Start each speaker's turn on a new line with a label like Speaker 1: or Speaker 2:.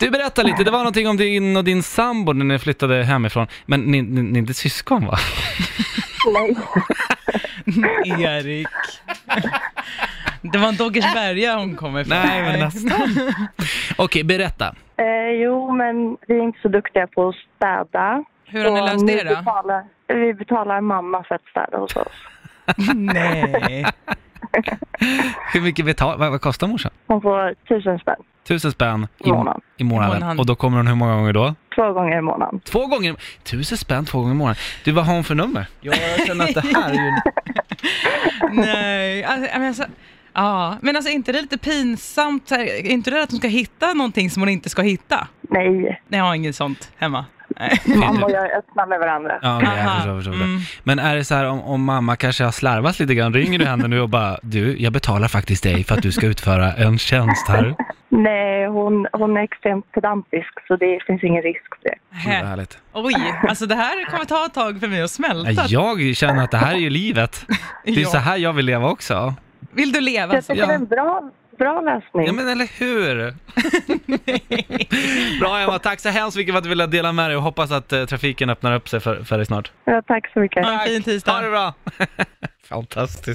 Speaker 1: Du berättar lite, det var någonting om din och din sambo när ni flyttade hemifrån. Men ni, ni, ni är inte syskon va?
Speaker 2: Nej.
Speaker 3: Erik. Det var en Doggersberga hon kom ifrån.
Speaker 1: Nej, men nästan. Okej, berätta.
Speaker 2: Eh, jo, men vi är inte så duktiga på att städa.
Speaker 3: Hur har ni
Speaker 2: Så
Speaker 3: löst
Speaker 2: nu
Speaker 3: det då?
Speaker 2: Betalar, vi betalar mamma för att städa hos oss.
Speaker 3: Nej.
Speaker 1: Hur mycket betal, vad, vad kostar morsan?
Speaker 2: Hon får tusen spänn
Speaker 1: Tusen spänn
Speaker 2: i månaden.
Speaker 1: i månaden.
Speaker 3: Månad.
Speaker 1: Och då kommer hon hur många gånger då?
Speaker 2: Två gånger i månaden.
Speaker 1: Två gånger? Tusen spänn två gånger i månaden. Du, vad har hon för nummer?
Speaker 4: Ja, jag känner att det här är ju...
Speaker 3: Nej. Alltså, men alltså, ja. men alltså är inte det lite pinsamt? Så här, Är inte det att hon ska hitta någonting som hon inte ska hitta?
Speaker 2: Nej,
Speaker 3: Nej, jag har inget sånt hemma. Nej.
Speaker 2: mamma och jag är öppna med varandra.
Speaker 1: Ja, okej, jag
Speaker 3: Aha,
Speaker 1: förstår, förstår, förstår.
Speaker 3: mm.
Speaker 1: Men är det så här om, om mamma kanske har slarvat lite grann, ringer du henne nu och bara du, jag betalar faktiskt dig för att du ska utföra en tjänst här. Gud,
Speaker 2: Nej, hon, hon är extremt pedantisk så det finns ingen risk för det.
Speaker 1: vad
Speaker 3: Hä.
Speaker 1: härligt.
Speaker 3: Oj, alltså det här kommer ta ett tag för mig att smälta.
Speaker 1: Nej, Jag känner att det här är ju livet. Det är
Speaker 3: Ja.
Speaker 1: så här jag vill leva också.
Speaker 3: Vill du leva?
Speaker 2: Jag
Speaker 3: Alltså?
Speaker 2: tycker det är en bra, bra lösning.
Speaker 1: Ja men eller hur? Bra Emma, tack så hemskt mycket för att du ville dela med dig och hoppas att eh, trafiken öppnar upp sig för, för dig snart.
Speaker 2: Ja, tack så mycket.
Speaker 3: Ha en fin tisdag.
Speaker 1: Ha det bra! Fantastiskt.